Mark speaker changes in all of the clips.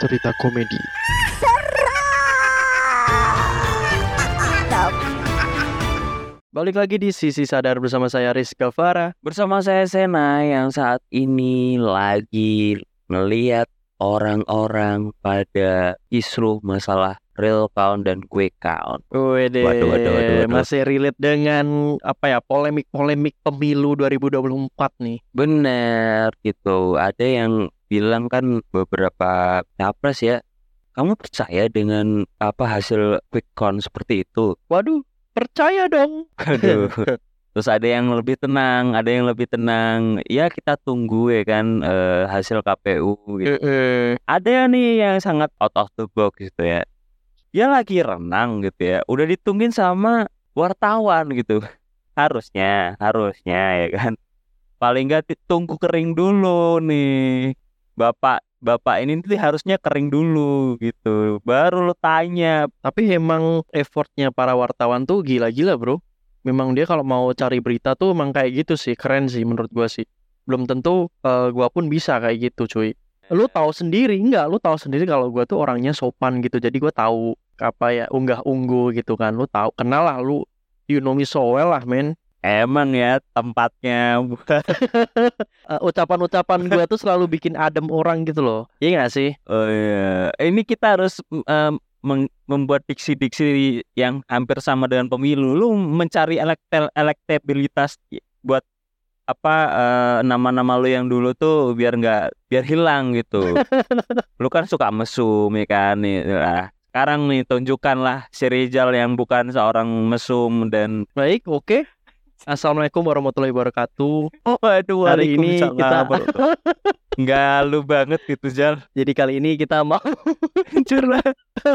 Speaker 1: cerita komedi. Balik lagi di Sisi Sadar bersama saya Rizka Farah.
Speaker 2: Bersama saya Sena yang saat ini lagi melihat orang-orang pada isu masalah real count dan quick count.
Speaker 1: Wede,
Speaker 2: Waduh, waduh, waduh, waduh.
Speaker 1: masih relate dengan apa ya polemik-polemik pemilu 2024 nih.
Speaker 2: Bener gitu. Ada yang bilang kan beberapa capres ya, kamu percaya dengan apa hasil quick count seperti itu?
Speaker 1: Waduh, percaya dong.
Speaker 2: Aduh. Terus ada yang lebih tenang, ada yang lebih tenang. Ya kita tunggu ya kan eh, hasil KPU gitu.
Speaker 1: Heeh.
Speaker 2: ada nih yang sangat out of the box gitu ya dia lagi renang gitu ya udah ditungguin sama wartawan gitu harusnya harusnya ya kan paling nggak ditunggu kering dulu nih bapak bapak ini tuh harusnya kering dulu gitu baru lo tanya
Speaker 1: Tapi emang effortnya para wartawan tuh gila-gila bro. Memang dia kalau mau cari berita tuh emang kayak gitu sih, keren sih menurut gua sih. Belum tentu eh, gua pun bisa kayak gitu cuy. Lu tahu sendiri nggak? Lu tahu sendiri kalau gua tuh orangnya sopan gitu. Jadi gua tahu apa ya unggah ungguh gitu kan. Lu tahu, kenal lah lu. You know me so well lah men.
Speaker 2: emang ya tempatnya buat
Speaker 1: Eh, Ucapan-ucapan gua tuh selalu bikin adem orang gitu loh. Iya nggak sih?
Speaker 2: oh iya. ini kita harus em, meng- membuat diksi-diksi yang hampir sama dengan pemilu lu mencari elektel elektabilitas buat apa eh, nama-nama lu yang dulu tuh biar nggak biar hilang gitu lu kan suka mesum ya kan nih Nah, sekarang nih tunjukkanlah si Rizal yang bukan seorang mesum dan
Speaker 1: Baik, oke. Assalamualaikum warahmatullahi wabarakatuh.
Speaker 2: oh aduh
Speaker 1: Hari ini kita-
Speaker 2: nggak lu banget gitu Jal
Speaker 1: Jadi kali ini kita mau
Speaker 2: curah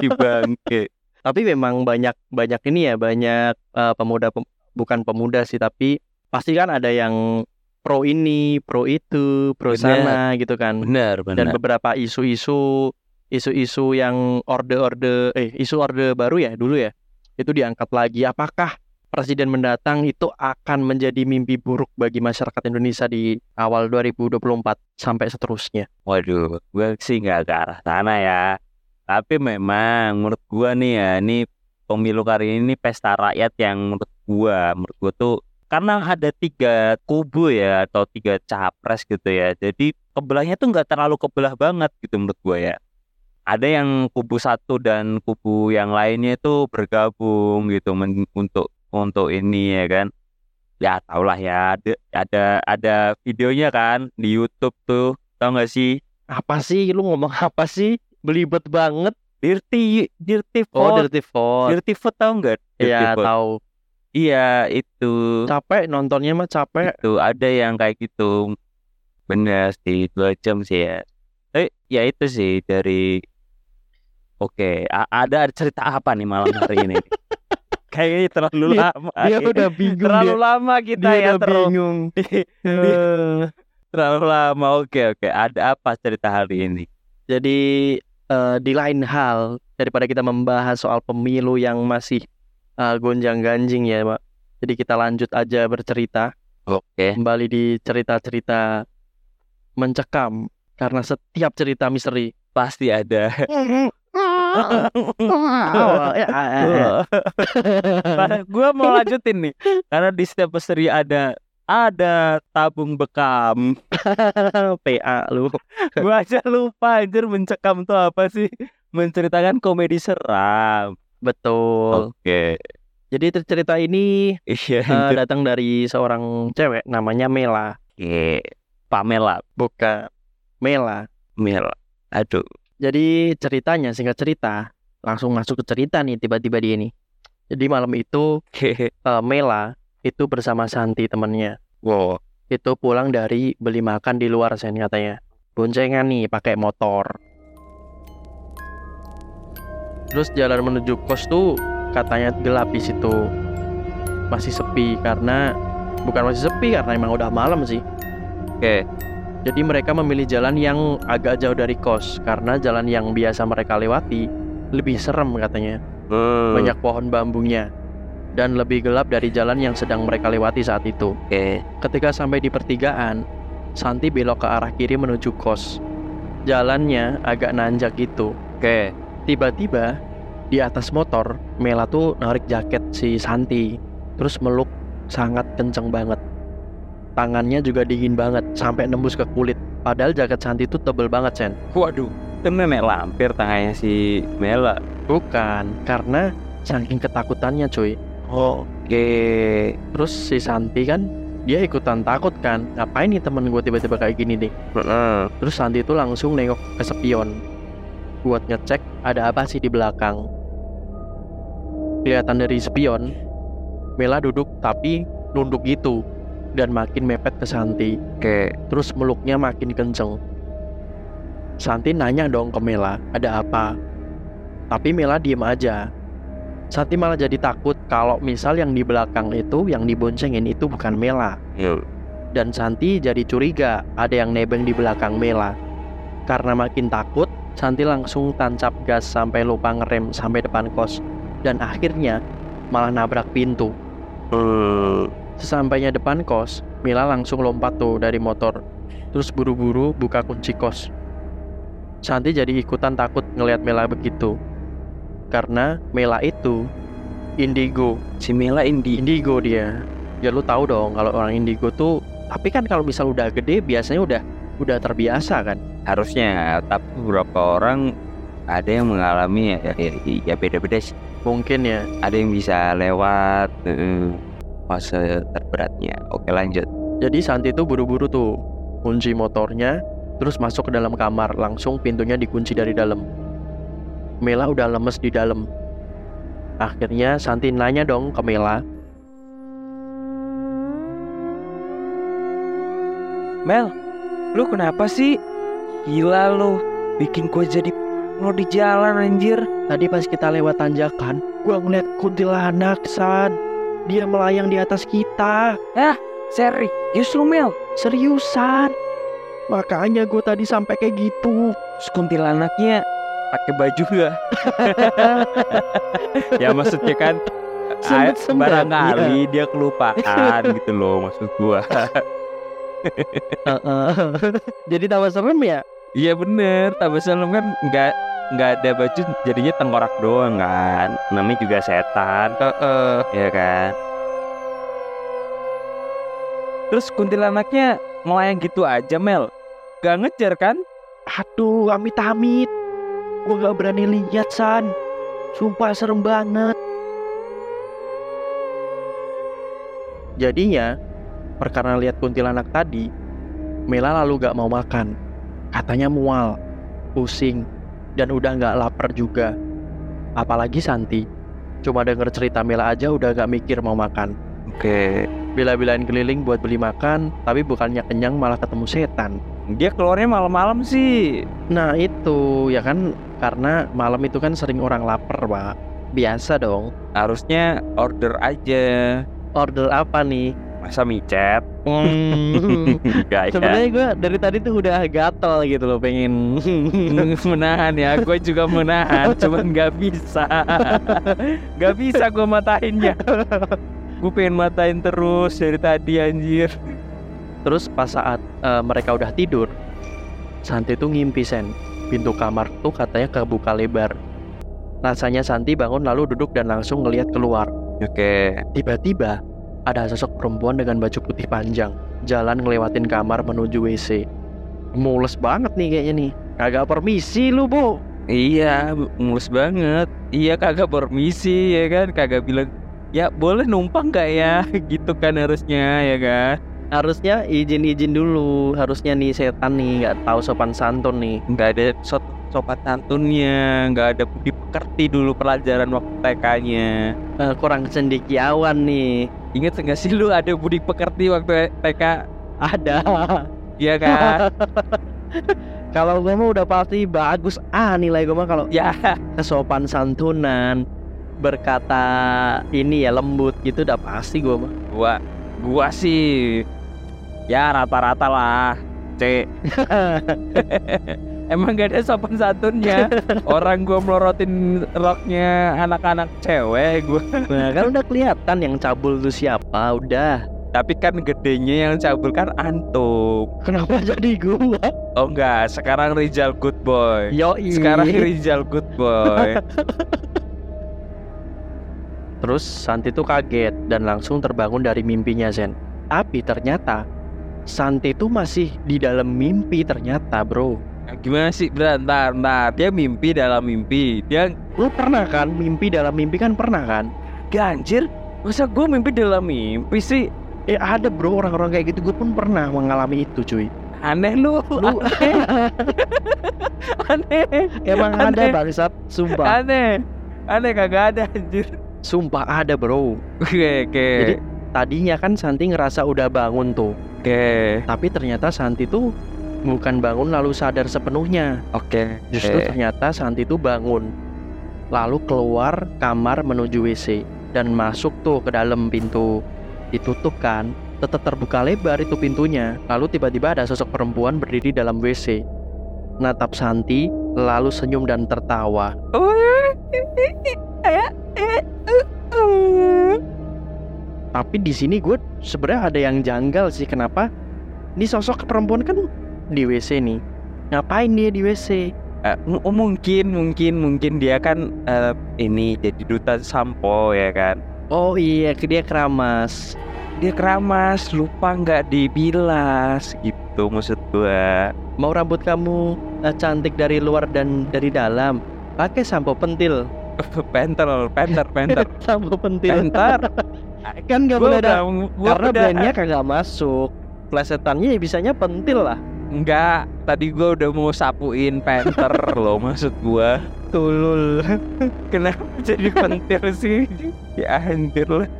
Speaker 2: di bangke
Speaker 1: tapi memang banyak banyak ini ya banyak eh, pemuda pem- bukan pemuda sih tapi pasti kan ada yang pro ini pro itu pro
Speaker 2: Bener.
Speaker 1: sana gitu kan
Speaker 2: benar
Speaker 1: dan beberapa isu-isu isu-isu yang orde-orde eh isu orde baru ya dulu ya itu diangkat lagi apakah presiden mendatang itu akan menjadi mimpi buruk bagi masyarakat Indonesia di awal 2024 sampai seterusnya
Speaker 2: Waduh, gue sih nggak ke arah sana ya. Tapi memang menurut gue nih ya, ini pemilu kali ini pesta rakyat yang menurut gue, menurut gue tuh karena ada tiga kubu ya atau tiga capres gitu ya. Jadi kebelahnya tuh nggak terlalu kebelah banget gitu menurut gue ya. Ada yang kubu satu dan kubu yang lainnya itu bergabung gitu men- untuk untuk ini ya kan. Ya tau lah ya ada ada ada videonya kan di YouTube tuh tau gak sih
Speaker 1: apa sih lu ngomong apa sih belibet banget
Speaker 2: Dirty Dirty
Speaker 1: oh
Speaker 2: Food
Speaker 1: dirty vote
Speaker 2: Dirty Food tau gak Dirty
Speaker 1: ya
Speaker 2: Food.
Speaker 1: tahu
Speaker 2: iya itu
Speaker 1: capek nontonnya mah capek
Speaker 2: itu ada yang kayak gitu bener sih dua jam sih ya eh ya itu sih dari oke a- ada cerita apa nih malam hari ini kayaknya terlalu
Speaker 1: Dia-
Speaker 2: lama
Speaker 1: dia udah bingung
Speaker 2: terlalu
Speaker 1: Iya, dia,
Speaker 2: lama kita
Speaker 1: dia
Speaker 2: ya
Speaker 1: udah
Speaker 2: terlalu
Speaker 1: bingung Eh,
Speaker 2: terlalu lama oke oke ada apa cerita hari ini
Speaker 1: jadi eh, di lain hal daripada kita membahas soal pemilu yang masih gonjang ganjing ya pak jadi kita lanjut aja bercerita
Speaker 2: oke
Speaker 1: kembali di cerita cerita mencekam karena setiap cerita misteri
Speaker 2: pasti ada
Speaker 1: Oh, eh,
Speaker 2: gue Nah, mau lanjutin nih karena di setiap pesteri ada ada tabung bekam
Speaker 1: PA eh, lu
Speaker 2: gue aja lupa anjir mencekam tuh apa sih menceritakan komedi seram
Speaker 1: betul
Speaker 2: oke
Speaker 1: jadi cerita ini
Speaker 2: iya
Speaker 1: eh, datang dari seorang cewek namanya Mela
Speaker 2: oke Pamela
Speaker 1: bukan Mela
Speaker 2: Mel aduh
Speaker 1: Jadi ceritanya singkat cerita langsung masuk ke cerita nih tiba-tiba dia nih. Jadi malam itu
Speaker 2: oke
Speaker 1: eh, Mela itu bersama Santi temennya
Speaker 2: wow
Speaker 1: itu pulang dari beli makan di luar sen katanya. Boncengan nih pakai motor. Terus jalan menuju kos tuh katanya gelap di situ masih sepi karena bukan masih sepi karena emang udah malam sih.
Speaker 2: oke
Speaker 1: Jadi mereka memilih jalan yang agak jauh dari kos karena jalan yang biasa mereka lewati lebih serem katanya.
Speaker 2: banyak
Speaker 1: Banyak pohon bambunya dan lebih gelap dari jalan yang sedang mereka lewati saat itu.
Speaker 2: oke
Speaker 1: Ketika sampai di pertigaan, Santi belok ke arah kiri menuju kos. jalannya agak nanjak gitu.
Speaker 2: Oke.
Speaker 1: Tiba-tiba di atas motor Mela tuh narik jaket si Santi terus meluk sangat kenceng banget. Tangannya juga dingin banget sampai nembus ke kulit. Padahal jaket Santi tuh tebel banget, Sen.
Speaker 2: Waduh, itu memek lampir tangannya si Mela.
Speaker 1: Bukan, karena saking ketakutannya, cuy. Oh,
Speaker 2: Oke.
Speaker 1: terus si Santi kan dia ikutan takut kan. Ngapain nih temen gue tiba-tiba kayak gini nih?
Speaker 2: Heeh.
Speaker 1: Terus Santi itu langsung nengok ke spion buat ngecek ada apa sih di belakang. Kelihatan dari spion, Mela duduk tapi nunduk gitu dan makin mepet ke Santi.
Speaker 2: Oke.
Speaker 1: Terus meluknya makin kenceng. Santi nanya dong ke Mela, ada apa? Tapi Mela diem aja. Santi malah jadi takut kalau misal yang di belakang itu, yang diboncengin itu bukan Mela
Speaker 2: Yuk.
Speaker 1: dan Santi jadi curiga ada yang nebeng di belakang Mela. Karena makin takut, Santi langsung tancap gas sampai lupa ngerem sampai depan kos dan akhirnya malah nabrak pintu. Sesampainya depan kos, Mila langsung lompat tuh dari motor, terus buru-buru buka kunci kos. Santi jadi ikutan takut ngelihat Mela begitu. Karena Mela itu indigo.
Speaker 2: Si Mela Indi.
Speaker 1: Indigo dia. Ya lu tahu dong kalau orang indigo tuh tapi kan kalau misal udah gede biasanya udah udah terbiasa kan.
Speaker 2: Harusnya, tapi beberapa orang ada yang mengalami ya, ya, ya beda-beda sih.
Speaker 1: Mungkin ya.
Speaker 2: Ada yang bisa lewat eh, fase terberatnya. Oke lanjut.
Speaker 1: Jadi Santi tuh buru-buru tuh kunci motornya terus masuk ke dalam kamar langsung pintunya dikunci dari dalam. Mela udah lemes di dalam. Akhirnya Santi nanya dong ke Mela,
Speaker 2: Mel, lu kenapa sih? Gila lu, bikin gue jadi lo di jalan anjir.
Speaker 1: Tadi pas kita lewat tanjakan, gua ngeliat kuntilanak, San. Dia melayang di atas kita.
Speaker 2: Hah?
Speaker 1: Serius lu, Eh, Mel? Seriusan. Makanya gue tadi sampai kayak gitu.
Speaker 2: Terus kuntilanaknya pakai baju gak? ya maksudnya kan
Speaker 1: Sempet-sempet,
Speaker 2: ay- barangkali dia kelupaan gitu loh maksud gua.
Speaker 1: Jadi tambah serem ya?
Speaker 2: Iya bener, tambah serem kan nggak nggak ada baju jadinya tengkorak doang kan. Namanya juga setan. Heeh. Iya kan. Terus kuntilanaknya melayang gitu aja Mel. Gak ngejar kan?
Speaker 1: Aduh, amit-amit. Gue gak berani lihat, San. Sumpah serem banget. Jadinya, perkara lihat kuntilanak tadi, Mela lalu gak mau makan. Katanya mual, pusing, dan udah gak lapar juga. Apalagi Santi. Cuma denger cerita Mela aja udah gak mikir mau makan.
Speaker 2: Oke.
Speaker 1: Bila-bilain keliling buat beli makan, tapi bukannya kenyang malah ketemu setan.
Speaker 2: Dia keluarnya malam-malam sih.
Speaker 1: Nah itu ya kan karena malam itu kan sering orang lapar pak Biasa dong
Speaker 2: Harusnya order aja.
Speaker 1: Order apa nih?
Speaker 2: Masa micet?
Speaker 1: Hmm,
Speaker 2: Gak ya.
Speaker 1: Sebenarnya gue dari tadi tuh udah gatel gitu loh pengen
Speaker 2: menahan ya, gue juga menahan, cuman nggak bisa, nggak bisa gue matainnya. Gue pengen matain terus dari tadi anjir.
Speaker 1: Terus pas saat eh, mereka udah tidur Santi tuh ngimpi Sen Pintu kamar tuh katanya kebuka lebar Rasanya Santi bangun lalu duduk dan langsung ngelihat keluar
Speaker 2: Oke,
Speaker 1: Tiba-tiba, ada sosok perempuan dengan baju putih panjang jalan ngelewatin kamar menuju WC. Mules banget nih kayaknya nih. Kagak permisi lu, Bu.
Speaker 2: iya mulus banget. Iya kagak permisi ya kan, kagak bilang ya boleh numpang gak ya gitu kan harusnya ya kan
Speaker 1: Harusnya izin-izin dulu. Harusnya nih setan nih nggak tahu sopan santun nih.
Speaker 2: nggak ada sot sopan santunnya nggak ada budi pekerti dulu pelajaran waktu TK-nya
Speaker 1: Eh, kurang cendekiawan nih.
Speaker 2: Ingat nggak sih lu ada budi pekerti waktu TK?
Speaker 1: Ada.
Speaker 2: Iya kan?
Speaker 1: Kalau gue mah udah pasti bagus ah nilai gue mah kalau
Speaker 2: ya,
Speaker 1: kesopan santunan berkata ini ya lembut gitu udah pasti gue mah.
Speaker 2: gua gua sih ya rata-rata lah. C. Emang gak ada sopan santunnya. Orang gua melorotin roknya anak-anak cewek gua.
Speaker 1: Nah, kan udah kelihatan yang cabul tuh siapa, udah.
Speaker 2: Tapi kan gedenya yang cabul kan antum.
Speaker 1: Kenapa jadi gua?
Speaker 2: Oh enggak, sekarang Rizal good boy.
Speaker 1: Yo,
Speaker 2: Sekarang Rizal good boy.
Speaker 1: Terus Santi tuh kaget dan langsung terbangun dari mimpinya Zen. Tapi ternyata Santi tuh masih di dalam mimpi ternyata bro.
Speaker 2: Gimana sih? Bentar, bentar, bentar. Dia mimpi dalam mimpi. Dia
Speaker 1: Lu pernah kan mimpi dalam mimpi kan pernah kan?
Speaker 2: ganjir. Masa gue mimpi dalam mimpi sih?
Speaker 1: Eh ada bro orang-orang kayak gitu gue pun pernah mengalami itu cuy.
Speaker 2: Aneh lu.
Speaker 1: Lu-
Speaker 2: aneh.
Speaker 1: Emang ada
Speaker 2: Aneh.
Speaker 1: bangsat, sumpah,
Speaker 2: Aneh. Aneh kagak ada anjir.
Speaker 1: sumpah ada bro.
Speaker 2: Oke, oke.
Speaker 1: Jadi tadinya kan Santi ngerasa udah bangun tuh,
Speaker 2: Oke.
Speaker 1: tapi ternyata Santi tuh bukan bangun lalu sadar sepenuhnya.
Speaker 2: Oke.
Speaker 1: Justru
Speaker 2: Oke.
Speaker 1: ternyata Santi tuh bangun, lalu keluar kamar menuju WC dan masuk tuh ke dalam pintu ditutup kan, tetap terbuka lebar itu pintunya. Lalu tiba-tiba ada sosok perempuan berdiri dalam WC, natap Santi, lalu senyum dan tertawa. Tapi di sini gue sebenarnya ada yang janggal sih kenapa? Ini sosok perempuan kan di WC nih. Ngapain dia di WC?
Speaker 2: Eh, m- oh, mungkin mungkin mungkin dia kan eh, ini jadi duta sampo ya kan
Speaker 1: Oh iya, ke- dia keramas.
Speaker 2: dia keramas lupa nggak dibilas gitu maksud gua
Speaker 1: Mau rambut kamu eh, cantik dari luar dan dari dalam. Pakai sampo pentil.
Speaker 2: pentel penter penter
Speaker 1: sampo pentil.
Speaker 2: penter
Speaker 1: kan nggak
Speaker 2: Gua
Speaker 1: boleh ada.
Speaker 2: udah- gua
Speaker 1: Karena
Speaker 2: udah-
Speaker 1: brandnya kagak masuk. Plesetannya ya bisanya pentil lah.
Speaker 2: nggak tadi gua udah mau sapuin penter loh maksud gua
Speaker 1: Tulul.
Speaker 2: kenapa jadi pentil sih ya anjir lah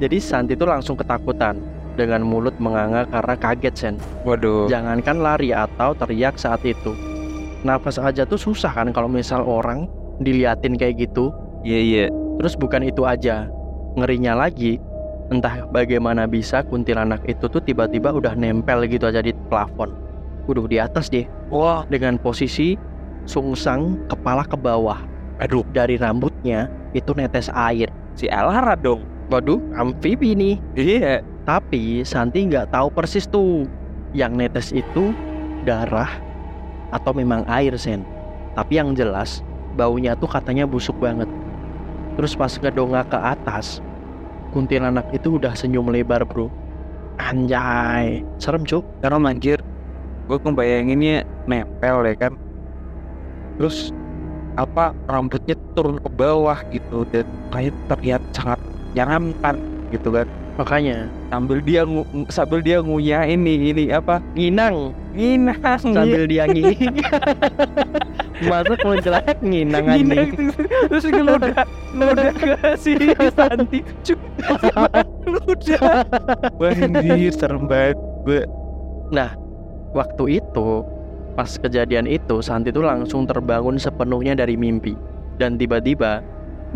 Speaker 1: Jadi Santi tuh langsung ketakutan dengan mulut menganga karena kaget Sen. Oh.
Speaker 2: waduh
Speaker 1: Jangankan lari atau teriak saat itu. Nafas aja tuh susah kan kalau misal orang diliatin kayak gitu.
Speaker 2: iya iya
Speaker 1: Terus bukan itu aja. Ngerinya lagi, entah bagaimana bisa kuntilanak itu tuh tiba-tiba udah nempel gitu aja di plafon. Waduh di atas deh
Speaker 2: wah
Speaker 1: dengan posisi sungsang kepala ke bawah.
Speaker 2: aduh
Speaker 1: Dari rambutnya itu netes air.
Speaker 2: si Alara dong
Speaker 1: Waduh, amfibi nih.
Speaker 2: iya
Speaker 1: Tapi Santi nggak tahu persis tuh yang netes itu darah atau memang air Sen. Tapi yang jelas baunya tuh katanya busuk banget. Terus pas ngedongak ke atas, kuntilanak itu udah senyum lebar bro. Anjay, serem cuk.
Speaker 2: Karena manjir Gue ngebayanginnya nempel ya kan Terus apa rambutnya turun ke bawah gitu dan kayak terlihat sangat nyaramkan gitu kan
Speaker 1: Makanya
Speaker 2: sambil dia ngu, ng- sambil dia ngunyah ini ini apa
Speaker 1: nginang
Speaker 2: nginang
Speaker 1: sambil dia nging. Masa kuntilanak nginang
Speaker 2: nginang, gitu.
Speaker 1: anjing.
Speaker 2: terus, terus ngeludah ngeludah ke si Santi Cuk, ngeludah banjir serem banget
Speaker 1: Nah, Waktu itu, pas kejadian itu, Santi tuh langsung terbangun sepenuhnya dari mimpi. Dan tiba-tiba,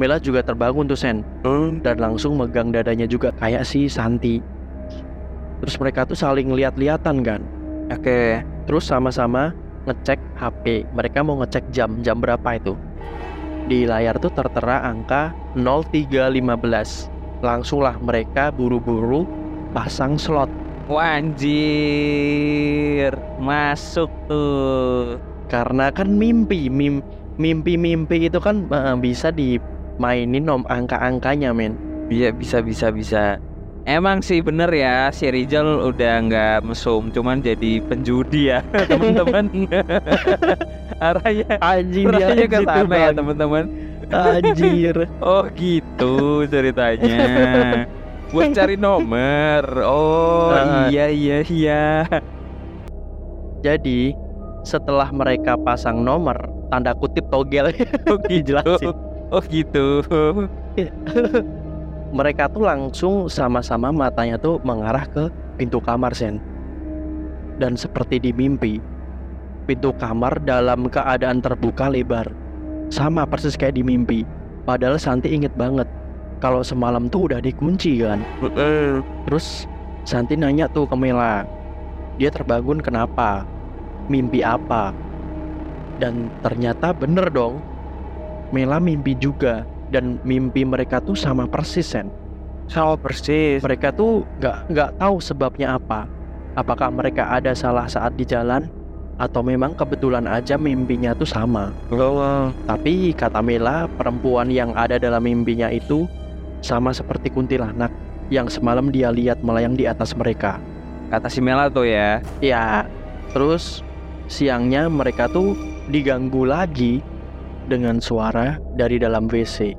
Speaker 1: Mela juga terbangun tuh Sen
Speaker 2: Hmm.
Speaker 1: dan langsung megang dadanya juga kayak si Santi. Terus mereka tuh saling lihat-lihatan kan.
Speaker 2: oke
Speaker 1: Terus sama-sama ngecek HP. Mereka mau ngecek jam, jam berapa itu. Di layar tuh tertera angka 0315. Langsunglah mereka buru-buru pasang slot.
Speaker 2: Wanjir masuk tuh.
Speaker 1: karena kan mimpi mim- mimpi-mimpi itu kan eh, bisa dimainin om angka-angkanya men
Speaker 2: Iya bisa bisa bisa. Emang sih bener ya si Rizal udah nggak mesum, cuman jadi penjudi ya teman-teman. Arahnya
Speaker 1: anjing dia
Speaker 2: arahnya ke
Speaker 1: gitu,
Speaker 2: sana ya
Speaker 1: Bang.
Speaker 2: teman-teman.
Speaker 1: anjir
Speaker 2: Oh gitu ceritanya. Buat cari nomor. Oh
Speaker 1: Ah.
Speaker 2: iya iya iya.
Speaker 1: jadi setelah mereka pasang nomor tanda kutip togel
Speaker 2: Oh gitu.
Speaker 1: Dijelasin.
Speaker 2: Oh gitu.
Speaker 1: mereka tuh langsung sama-sama matanya tuh mengarah ke pintu kamar sen dan seperti di mimpi pintu kamar dalam keadaan terbuka lebar sama persis kayak di mimpi padahal Santi inget banget kalau semalam tuh udah dikunci kan Terus Santi nanya tuh ke Mela, dia terbangun kenapa? Mimpi apa? Dan ternyata bener dong, Mela mimpi juga dan mimpi mereka tuh sama persis Sen.
Speaker 2: Sama persis.
Speaker 1: Mereka tuh nggak nggak tahu sebabnya apa. apakah mereka ada salah saat di jalan atau memang kebetulan aja mimpinya tuh sama. Tapi kata Mela, perempuan yang ada dalam mimpinya itu sama seperti kuntilanak yang semalam dia lihat melayang di atas mereka.
Speaker 2: Kata si Mela tuh ya.
Speaker 1: Ya, terus siangnya mereka tuh diganggu lagi dengan suara dari dalam WC.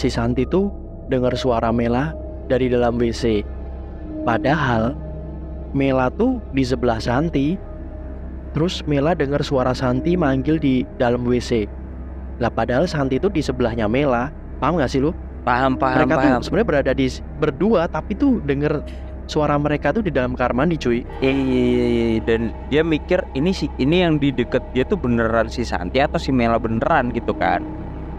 Speaker 1: Si Santi tuh dengar suara Mela dari dalam WC. Padahal Mela tuh di sebelah Santi. Terus Mela dengar suara Santi manggil di dalam WC. Lah padahal Santi tuh di sebelahnya Mela. Paham gak sih lu?
Speaker 2: Paham paham
Speaker 1: mereka
Speaker 2: paham.
Speaker 1: tuh sebenarnya berada di berdua tapi tuh denger suara mereka tuh di dalam kamar mandi cuy.
Speaker 2: Iya, iya, iya, iya. Dan dia mikir ini sih ini yang di deket dia tuh beneran si Santi atau si Mela beneran gitu kan.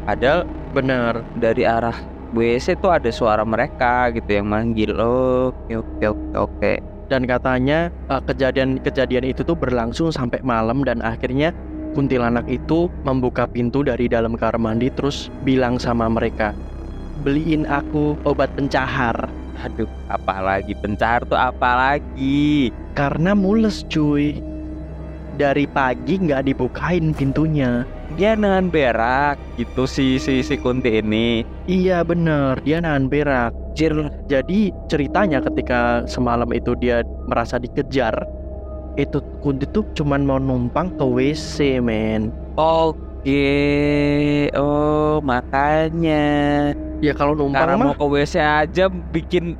Speaker 2: Padahal
Speaker 1: Bener.
Speaker 2: dari arah WC tuh ada suara mereka gitu yang manggil oh oke oke oke oke
Speaker 1: Dan katanya eh, kejadian-kejadian itu tuh berlangsung sampai malam dan akhirnya kuntilanak itu membuka pintu dari dalam kamar mandi terus bilang sama mereka, "Beliin aku obat pencahar."
Speaker 2: aduh apalagi pencar tuh apalagi
Speaker 1: Karena mules cuy Dari pagi nggak dibukain pintunya
Speaker 2: dia dengan berak gitu si si si kunti ini
Speaker 1: Iya bener dia nahan berak
Speaker 2: jir
Speaker 1: Jadi ceritanya ketika semalam itu dia merasa dikejar Itu kunti tuh cuman mau numpang ke WC men
Speaker 2: oke oh makanya
Speaker 1: Ya kalau
Speaker 2: karena
Speaker 1: numpang
Speaker 2: mau
Speaker 1: mah
Speaker 2: ke WC aja bikin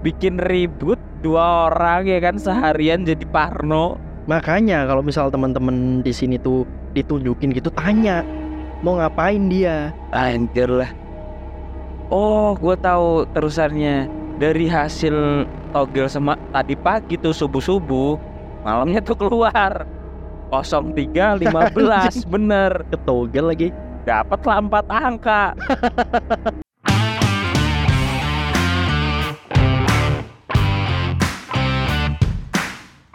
Speaker 2: bikin ribut dua orang ya kan seharian jadi parno
Speaker 1: Makanya kalau misal teman-teman di sini tuh ditunjukin gitu tanya Mau ngapain dia
Speaker 2: Anjir lah. Oh, gue tahu terusannya. Dari hasil togel sama tadi pagi tuh subuh-subuh, malamnya tuh keluar. 0315 bener.
Speaker 1: Ketogel lagi
Speaker 2: Dapat lah empat angka.